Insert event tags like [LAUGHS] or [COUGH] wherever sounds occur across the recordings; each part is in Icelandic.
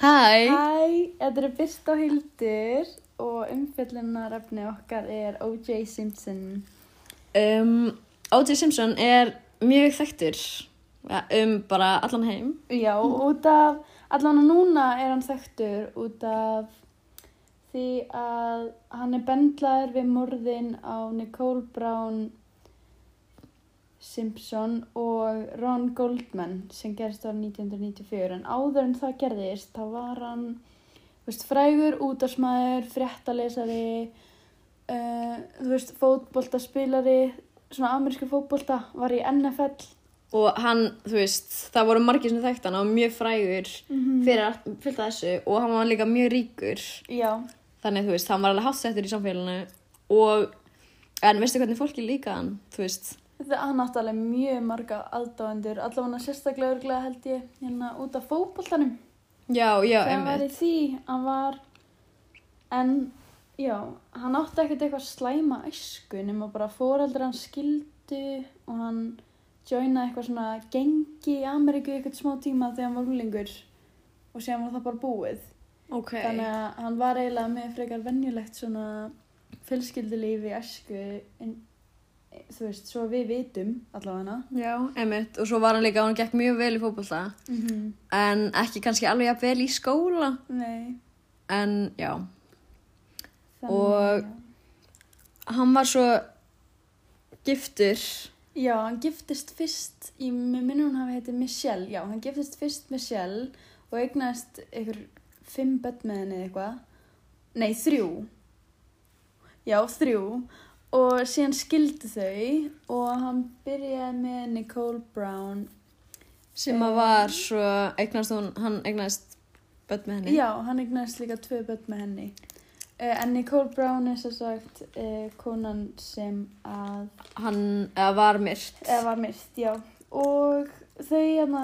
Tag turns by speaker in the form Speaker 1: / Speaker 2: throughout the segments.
Speaker 1: Hæ!
Speaker 2: Hæ, þetta eru Birta og Hildur og umfyllunarefni okkar er O.J. Simpson.
Speaker 1: Um, O.J. Simpson er mjög þekktur ja, um bara allan heim.
Speaker 2: Já, út af, allan núna er hann þekktur út af því að hann er bendlaður við morðin á Nicole Brown Simpson og Ron Goldman sem gerist ára 1994 en áður en það gerðist þá var hann þú veist, frægur, útarsmaður, fréttalesari uh, þú veist, fótboltaspilari svona amerísku fótbolta var í NFL
Speaker 1: Og hann, þú veist, það voru margir sem þekkt hann, hann var mjög frægur fyrir allt, fyrir þessu og hann var líka mjög ríkur.
Speaker 2: Já,
Speaker 1: Þannig, þú veist, hann var alveg háttsettur í samfélaginu og, en veistu hvernig fólki líka hann, þú veist,
Speaker 2: Það hann átti alveg mjög marga aðdáendur, allavega sérstaklega örglega held ég, hérna út af fótboltanum.
Speaker 1: já, já,
Speaker 2: Þegar hann var í
Speaker 1: einmitt.
Speaker 2: því, hann var, en já, hann átti ekkert eitthvað slæma æsku nema bara fóreldrar hann skildu og hann joinaði eitthvað svona gengi í Ameríku í eitthvað smá tíma þegar hann var húlingur og síðan var það bara búið.
Speaker 1: Ok,
Speaker 2: Þannig að hann var eiginlega með frekar venjulegt svona fjölskyldulífi æsku, en, þú veist, svo við vitum allavega hana.
Speaker 1: já, einmitt. Og svo var hann líka, hann gekk mjög vel í fótbolta,
Speaker 2: Mm -hmm.
Speaker 1: en ekki kannski alveg jafn vel í skóla,
Speaker 2: Nei.
Speaker 1: en já.
Speaker 2: þannig
Speaker 1: Og-
Speaker 2: að-
Speaker 1: hann var svo giftur
Speaker 2: Já, hann giftist fyrst, í mér minnum hann hafi heiti Michelle, já, hann giftist fyrst Michelle og eignaðist einhver fimm börn með henni eða eitthvað. Nei, þrjú. Já, þrjú. Og síðan skildu þau og hann byrjaði með Nicole Brown.
Speaker 1: sem að var svo eignast hún, hann eignast börn með henni.
Speaker 2: Já, hann eignaðist líka tvö börn með henni. Uh, en Nicole Brown er svo sagt uh, konan sem að
Speaker 1: Hann eða var myrt.
Speaker 2: eða var myrkt, já og þau hérna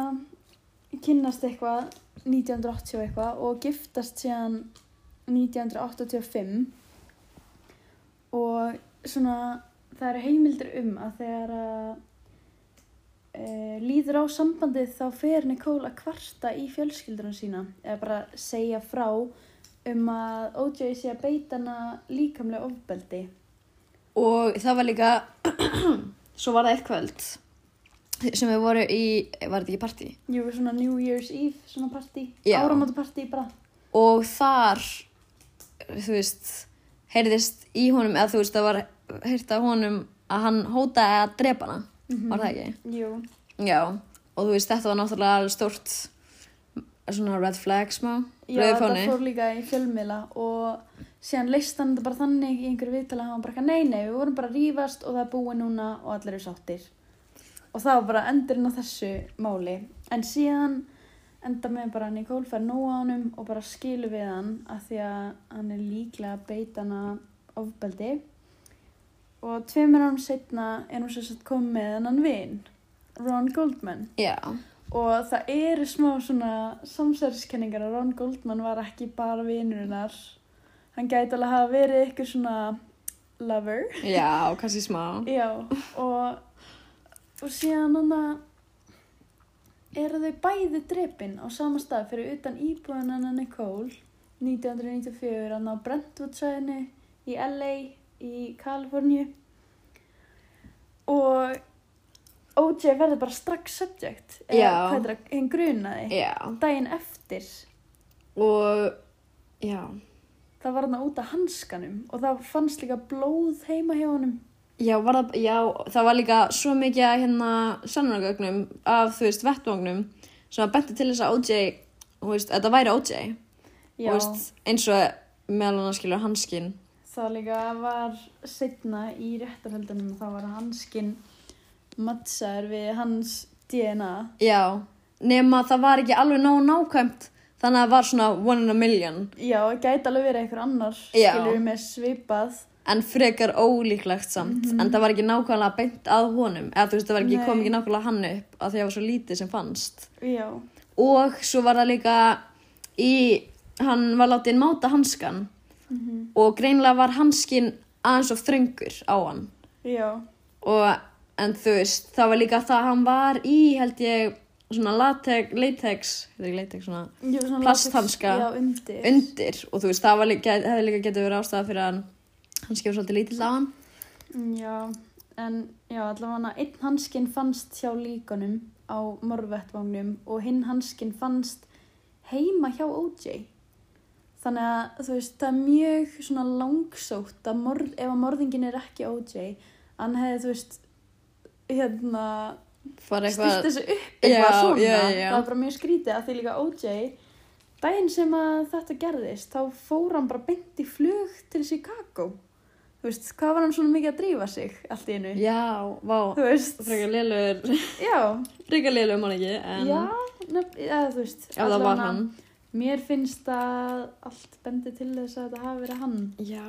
Speaker 2: kynnast eitthvað 1980 og eitthvað og giftast síðan 1985 og svona það eru heimildir um að þegar að e, líður á sambandið þá fer Nicole að kvarta í fjölskyldurinn sína eða bara segja frá um að OJ sé að beita hana líkamlega ofbeldi
Speaker 1: Og það var líka, [CLEARS THROAT] svo var það eitt kvöld sem við voru í, var þetta ekki partí?
Speaker 2: Jú, svona New Year's Eve, svona partí,
Speaker 1: Já.
Speaker 2: áramótapartí bara.
Speaker 1: Og þar, þú veist, heyrðist í honum, eða þú veist, það var heyrt af honum að hann hótaði að drepa hana,
Speaker 2: Mhm.
Speaker 1: var það ekki?
Speaker 2: Jú,
Speaker 1: Já, og þú veist, þetta var náttúrulega alveg stórt, svona red flag smá,
Speaker 2: já,
Speaker 1: rauði
Speaker 2: þetta
Speaker 1: fáni.
Speaker 2: fór líka í fjölmiðla og síðan leist hann þetta bara þannig í einhverju viðtala að hann bara, eitthvað, nei, nei, við vorum bara að rífast og það er búið núna og allir eru sáttir. Og það var bara endurinn á þessu máli. En síðan enda með bara Nicole fer nóg á honum og bara skilu við hann af því að hann er líklega að beita hana ofbeldi. Og tveimur árum setna er hún sér satt komið með hennan vin, Ron Goldman.
Speaker 1: Já,
Speaker 2: Og það eru smá svona samsæðiskenningar að Ron Goldman var ekki bara vinurinnar. Hann gæti alveg að hafa verið eitthvað svona lover.
Speaker 1: já, kannski smá.
Speaker 2: Já, og, og síðan hann að eru þau bæði drepin á sama stað fyrir utan íbúðan hennar Nicole 1994 hann á Brentwood-sæðinu í LA í Kaliforníu og OJ verður bara strax subject
Speaker 1: Já.
Speaker 2: eða hvað er það, hinn grunaði
Speaker 1: Já,
Speaker 2: daginn eftir
Speaker 1: og já,
Speaker 2: það var hann út af hanskanum og það fannst líka blóð heima hjá honum
Speaker 1: já, var það, já, það var líka svo mikið að hérna sannunagögnum af, þú veist, vettvangnum sem að benti til þess að OJ, þú veist, að það væri OJ, þú veist, eins og meðal hann skilur hanskinn.
Speaker 2: Það líka var setna í réttarhöldunum og þá var hanskin mattsaður við hans DNA.
Speaker 1: Já, nema það var ekki alveg nóg nákvæmt, þannig að það var svona one in a million,
Speaker 2: Já, gæti alveg verið einhver annar,
Speaker 1: Já.
Speaker 2: skilur við með svipað.
Speaker 1: en frekar ólíklegt samt, en það var ekki nákvæmlega beint að honum, eða þú veist, það var ekki,
Speaker 2: Nei.
Speaker 1: kom ekki nákvæmlega hann upp að því að það var svo lítið sem fannst.
Speaker 2: Já,
Speaker 1: og svo var það líka í, hann var látið máta hanskan og greinlega var hanskin aðeins of þröngur á hann
Speaker 2: já,
Speaker 1: og en þú veist, það var líka það að hann var í held ég svona latex, latex, þetta er ekki latex svona
Speaker 2: Jú, svona
Speaker 1: Plasthanska.
Speaker 2: latex- Já, undir.
Speaker 1: undir og þú veist, það var líka, hefði líka getið verið ástæða fyrir að hann, hann skefur svolítið lítill á hann.
Speaker 2: Já, en já, allavega einn hanskinn fannst hjá líkanum á morvettvangnum og hinn hanskinn fannst heima hjá OJ. Þannig að þú veist, það er mjög svona langsótt að morð, ef að morðingin er ekki OJ, hann hefði þú veist, hérna,
Speaker 1: Fara
Speaker 2: stýst
Speaker 1: eitthvað,
Speaker 2: þessu upp eitthvað
Speaker 1: Já,
Speaker 2: svona.
Speaker 1: já, já, já.
Speaker 2: Það er bara mjög skrítið að því líka OJ, daginn sem að þetta gerðist, þá fór hann bara beint í flug til Chicago. Þú veist, hvað var hann svona mikið að drífa sig allt í einu?
Speaker 1: já, vá,
Speaker 2: Þú veist,
Speaker 1: frekar lélugur,
Speaker 2: já,
Speaker 1: [LAUGHS] frekar lélugur mann ekki, en
Speaker 2: já, nefn, eða þú veist.
Speaker 1: ef það
Speaker 2: allavega,
Speaker 1: var hann.
Speaker 2: Mér finnst að allt bendi til þess að þetta hafi verið hann.
Speaker 1: Já,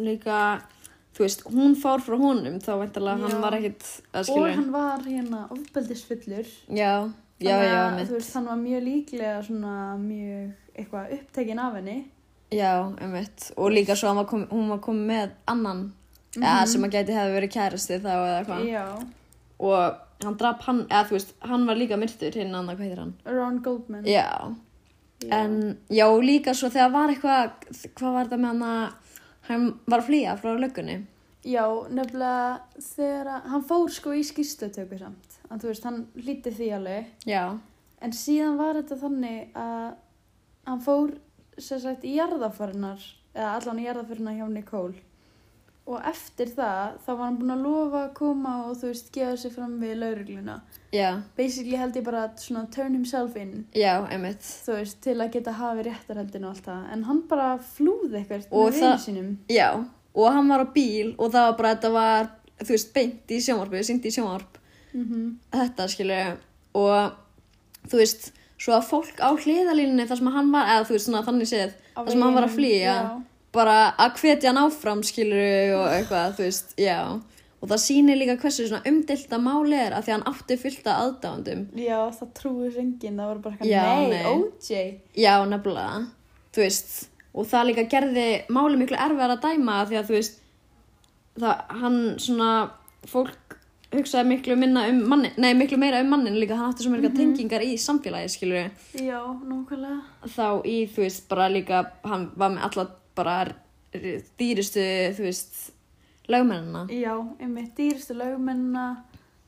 Speaker 1: líka, þú veist, hún fár frá honum, þá veintalega
Speaker 2: Já.
Speaker 1: hann var ekkit að
Speaker 2: Og
Speaker 1: skilja.
Speaker 2: hann var hérna ofbeldisfullur.
Speaker 1: Já, já,
Speaker 2: Þannig
Speaker 1: já,
Speaker 2: að,
Speaker 1: mitt.
Speaker 2: Þú veist, hann var mjög líklega svona mjög eitthvað upptekinn af henni.
Speaker 1: Já, einmitt. Og líka svo hann var kom, hún var komið með annan eða, sem að gæti hefði verið kærasti þá eða eitthvað.
Speaker 2: Mhm. Já,
Speaker 1: Og hann drap hann, eða þú veist, hann var líka myrtur hinn annan, hvað heitir hann?
Speaker 2: Ron Goldman.
Speaker 1: Já,
Speaker 2: Já.
Speaker 1: en já, og líka svo þegar var eitthvað, hvað var þetta með hann að hann var að flýja frá löggunni?
Speaker 2: Já, nefnilega þegar að, hann fór sko í skýrstöðtöku samt. En þú veist, hann lítið því alveg.
Speaker 1: Já,
Speaker 2: En síðan var þetta þannig að hann fór sem sagt í jarðafarinnar, eða allan í jarðafarinnar hjá Nicole. Og eftir það, þá var hann búinn að lofa að koma og þú veist, gefa sig fram við laurugluna.
Speaker 1: já,
Speaker 2: Basically held ég bara að svona turn himself in,
Speaker 1: já, einmitt.
Speaker 2: þú veist, til að geta hafi réttarhaldin og allt það. En hann bara flúði eitthvað
Speaker 1: Og það-
Speaker 2: með vinnu sínum.
Speaker 1: Já, og hann var á bíl og það var bara, þetta var, þú veist, beint í sjónvarpu, syndi í sjónvarp.
Speaker 2: Mm
Speaker 1: þetta skilur og þú veist svo að fólk á hliðalínunni þar sem hann var eða þú veist svona þannig séð þar sem hann var að flýja bara að hvetja hann áfram skilur og eitthvað þú veist já og það sýnir líka hversu svona umdelta máli er að því að hann átti fyllt af aðdándum
Speaker 2: Já, já það trúið reyngin, það voru bara
Speaker 1: Já,
Speaker 2: eitthvað, nei,
Speaker 1: nei.
Speaker 2: OJ.
Speaker 1: já nefnilega þú veist og það líka gerði máli miklu erfiðar að dæma af því að þú veist það hann svona fólk hugsaði miklu minna um mannin nei miklu meira um mannin líka hann átti svo mjög tengingar í samfélagi skilur
Speaker 2: Já, nákvæmlega.
Speaker 1: þá í, þú veist, bara líka hann var með alla bara r- dýrustu, þú veist lögmennina.
Speaker 2: Já, einmitt dýrstu lögmennina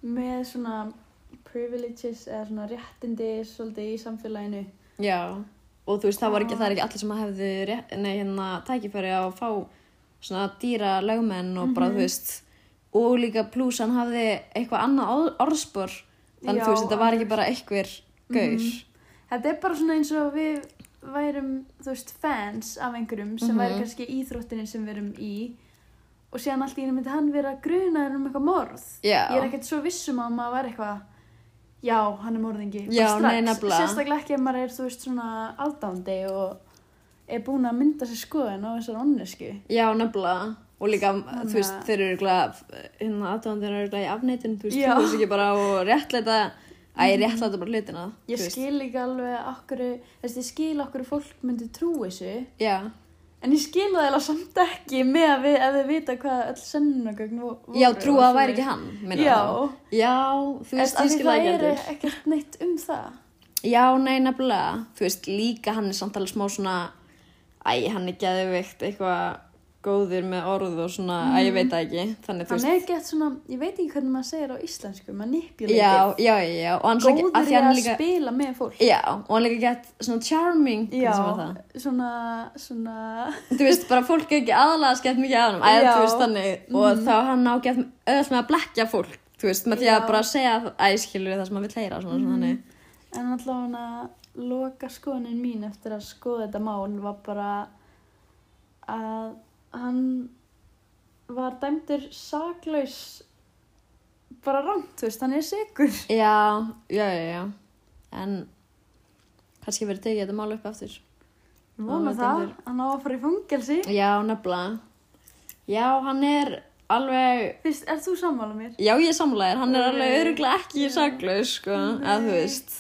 Speaker 2: með svona privileges eða svona réttindi svolítið í samfélaginu.
Speaker 1: Já. Og þú veist, það var ekki,
Speaker 2: Já.
Speaker 1: það er ekki allir sem hefðu rétt, nei, hérna, tækifæri að fá svona dýra lögmenn og
Speaker 2: Mhm.
Speaker 1: bara, þú veist, og líka pluss hann hafði eitthvað annað orð- orðspor þannig,
Speaker 2: Já, Mhm.
Speaker 1: þú veist, þetta var ekki bara einhver gaur.
Speaker 2: Þetta er bara svona eins og við værum, þú veist, fans af einhverjum sem
Speaker 1: Mhm.
Speaker 2: væri kannski í íþróttinni sem við erum í og síðan allt í einu myndi hann vera grunaður um eitthvað morð.
Speaker 1: Já.
Speaker 2: Ég er ekkert svo vissum að maður væri eitthvað, já, hann er morðingi. bara
Speaker 1: Já,
Speaker 2: strax.
Speaker 1: nei, nefnilega.
Speaker 2: Sérstaklega ekki ef maður er, þú veist, svona aldándi og er búin að mynda sér skoðan á þessar onnesku.
Speaker 1: Já, nefnilega. Og líka,
Speaker 2: Þannig
Speaker 1: þú veist,
Speaker 2: að-
Speaker 1: þeir eru örugglega, hérna, aðdóðandir eru örugglega í afneitun, þú veist,
Speaker 2: Já. Mhm.
Speaker 1: þú veist ekki bara og réttleita, æ, réttleita bara hlutina,
Speaker 2: Ég
Speaker 1: þú veist.
Speaker 2: skil ekki alveg okkur, þess að ég skil okkur fólk myndi trú þessu,
Speaker 1: Já,
Speaker 2: en ég skil það eða samt ekki með að við, að við vita hvað öll sennunagögn voru.
Speaker 1: já, trú að það
Speaker 2: og
Speaker 1: væri
Speaker 2: svoleiðis.
Speaker 1: ekki hann, minna
Speaker 2: Já,
Speaker 1: það. Já, þú veist, ég
Speaker 2: af því
Speaker 1: skil það ekki
Speaker 2: Það
Speaker 1: heldur.
Speaker 2: er ekkert neitt um það.
Speaker 1: Já, nei, nefnilega, þú veist, líka hann er samtalið smá svona, æ, hann er geðveikt, eitthvað góður með orð og svona, æ, ég veit það ekki, þannig, þú
Speaker 2: Hann
Speaker 1: veist.
Speaker 2: er gett svona, ég veit ekki hvernig maður segir á íslensku, maður nippjuleitið.
Speaker 1: Já, já, já, já, og hann er
Speaker 2: Góður
Speaker 1: svona, að
Speaker 2: í
Speaker 1: því hann
Speaker 2: að
Speaker 1: er líka,
Speaker 2: spila með fólk.
Speaker 1: já, og hann er líka gett svona charming,
Speaker 2: Já,
Speaker 1: hvernig sem var það?
Speaker 2: svona, svona,
Speaker 1: þú veist, bara fólk er ekki aðalega skemmt mikið að honum, æða,
Speaker 2: Já.
Speaker 1: þú veist, þannig og þá hann á gett öll með að blekja fólk þú veist, með því
Speaker 2: Já.
Speaker 1: að bara segja að ég skilur það sem hann vil heyra, svona, svona, þannig
Speaker 2: mhm. en allavega loka skoðunin mín eftir að skoða þetta mál var bara að hann var dæmdur saklaus bara rámt, þú veist, hann er sigur
Speaker 1: já, já, já, já en kannski verið tekið þetta mál upp aftur
Speaker 2: vona
Speaker 1: Hann var
Speaker 2: það,
Speaker 1: dæmdur.
Speaker 2: hann á að fara í fangelsi
Speaker 1: já, nefnilega já, hann er alveg
Speaker 2: Fyrst, er þú sammála mér?
Speaker 1: já, ég samlæðir, hann er alveg
Speaker 2: Nei.
Speaker 1: öruglega ekki
Speaker 2: Já.
Speaker 1: saklaus, sko, að þú
Speaker 2: Nei.
Speaker 1: veist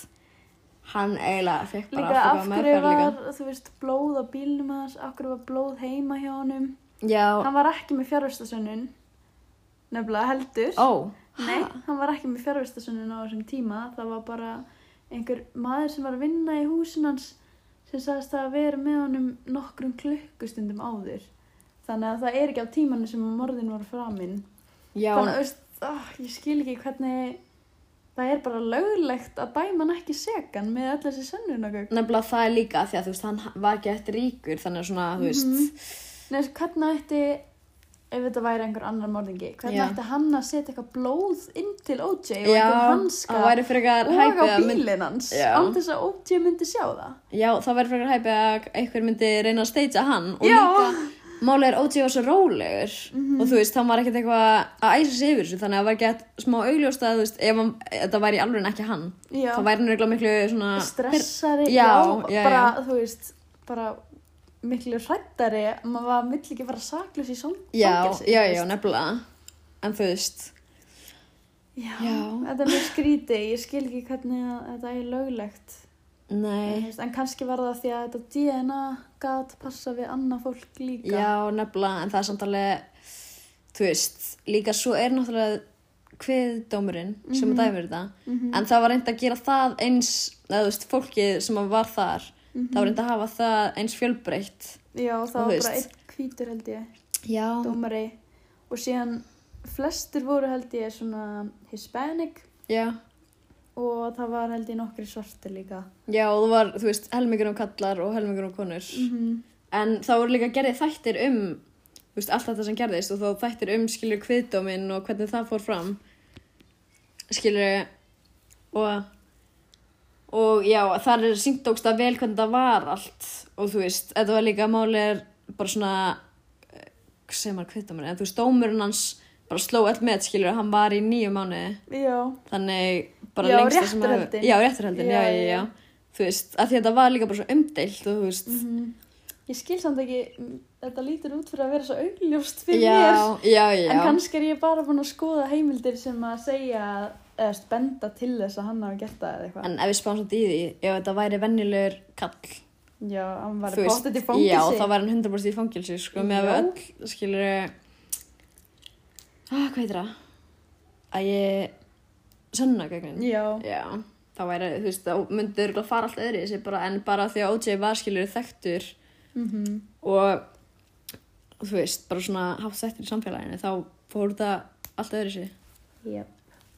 Speaker 1: hann eiginlega fekk bara
Speaker 2: Líka af
Speaker 1: afturkvæða
Speaker 2: hverju
Speaker 1: meðferð
Speaker 2: var,
Speaker 1: líka.
Speaker 2: þú veist, blóð á bílnum hans, af hverju var blóð heima hjá honum
Speaker 1: já,
Speaker 2: Hann var ekki með fjárvistasönnun, nefnilega heldur
Speaker 1: ó,
Speaker 2: Nei, hann var ekki með fjárvistasönnun á þessum tíma, það var bara einhver maður sem var að vinna í húsin hans sem sagðist það að vera með honum nokkrum klukkustundum áður þannig að það er ekki á tímanu sem morðin voru framinn
Speaker 1: Já,
Speaker 2: þannig að þú veist, oh, ég skil ekki hvernig það er bara löglegt að dæma hann ekki segan með öll þessi sönnunagögn
Speaker 1: nefnilega það er líka af því að þú veist, hann var ekki eftir ríkur, þannig að svona, þú veist,
Speaker 2: Mhm. Nei, þú veist, hvernig ætti ef þetta væri einhver annar morðingi hvernig
Speaker 1: Já.
Speaker 2: ætti hann að setja eitthvað blóð inn til OJ og
Speaker 1: já,
Speaker 2: einhver hanska
Speaker 1: það væri frekar
Speaker 2: og
Speaker 1: hæpið
Speaker 2: á
Speaker 1: að mynd,
Speaker 2: bílinn hans
Speaker 1: Já.
Speaker 2: án þess að OJ myndi sjá það
Speaker 1: já, það væri frekar hæpið að einhver myndi reyna að steitja hann og
Speaker 2: Já. Mhm.
Speaker 1: líka, málega er OJ var svo rólegur og þú veist, hann var ekkert eitthvað að æsa sig yfir þessu, þannig að það var gett smá augljóst að, þú veist, ef hann, þetta væri í alveg ekki hann,
Speaker 2: Já.
Speaker 1: þá væri hann regla miklu svona,
Speaker 2: stressari
Speaker 1: Já, já,
Speaker 2: bara,
Speaker 1: já.
Speaker 2: þú veist, bara miklu hrættari, maður var miklu ekki bara saklaus í song
Speaker 1: já, já, já, nefnilega, en þú veist,
Speaker 2: já,
Speaker 1: Já.
Speaker 2: þetta er mjög skrítið ég skil ekki hvernig að, þetta er löglegt
Speaker 1: nei,
Speaker 2: Þú veist, en kannski var það því að þetta DNA gat passa við annað fólk líka
Speaker 1: Já, nefnilega, en það er samt alveg, þú veist, líka svo er náttúrulega kviðdómurinn sem
Speaker 2: Mhm.
Speaker 1: mm dæmir þetta, en það var reynd að gera það eins, eða þú veist, fólkið sem að var þar, það var reynd að hafa það eins fjölbreytt.
Speaker 2: Mhm. Já,
Speaker 1: Og
Speaker 2: það var
Speaker 1: þú
Speaker 2: bara
Speaker 1: veist.
Speaker 2: einn hvítur held ég,
Speaker 1: Já,
Speaker 2: dómari og síðan flestir voru held ég svona hispanic
Speaker 1: já,
Speaker 2: og það var held ég nokkri svartir líka
Speaker 1: já, og það var, þú veist, helmingur um kallar og helmingur um konur,
Speaker 2: Mhm.
Speaker 1: en það voru líka gerðið þættir um, þú veist, allt þetta sem gerðist og þá þættir um, skilur, kviðdóminn og hvernig það fór fram, skilur, og... og já, þar er sínt ógsta vel hvernig það var allt og þú veist, þetta var líka málið er bara svona eh, hvað segir maður kvita mér, en þú veist, dómurinn hans bara sló all með, skilur, hann var í nýju mánuði
Speaker 2: Já,
Speaker 1: þannig bara
Speaker 2: Já,
Speaker 1: lengsta sem hafi-
Speaker 2: réttarhöldin.
Speaker 1: já, réttarhaldin, já,
Speaker 2: Já,
Speaker 1: já, já,
Speaker 2: já.
Speaker 1: þú veist, að því að þetta var líka bara svo umdeilt og þú veist,
Speaker 2: Ég skil samt ekki, m, þetta lítur út fyrir að vera svo augljóst fyrir
Speaker 1: já,
Speaker 2: mér.
Speaker 1: já, já
Speaker 2: En kannski er ég bara búin að skoða heimildir sem að segja, eða st- benda til þess að hann hafi gert það eða eitthvað.
Speaker 1: en ef við spáum svolítið í því, ef þetta væri venjulegur kall,
Speaker 2: Já, hann var
Speaker 1: þú veist,
Speaker 2: bóttið til fangilsi.
Speaker 1: já, þá var hann 100% í fangilsi, sko, með að
Speaker 2: Já.
Speaker 1: við öll, skilur, ah, hvað heitir það? Að ég, sönnagögnin,
Speaker 2: Já,
Speaker 1: já, þá væri, þú veist, þá myndi örugglega fara allt öðru þessi bara, en bara því að OJ var, skilur, þekktur
Speaker 2: mhm,
Speaker 1: og, þú veist, bara svona haft þekktur í samfélaginu, þá fór þetta allt öðru þessi.
Speaker 2: jöp.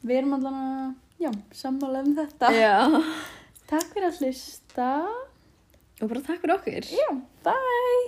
Speaker 2: Við erum allan að, já, sammála um þetta.
Speaker 1: Já,
Speaker 2: Takk fyrir að hlusta.
Speaker 1: og bara takk fyrir okkur.
Speaker 2: Já, bye!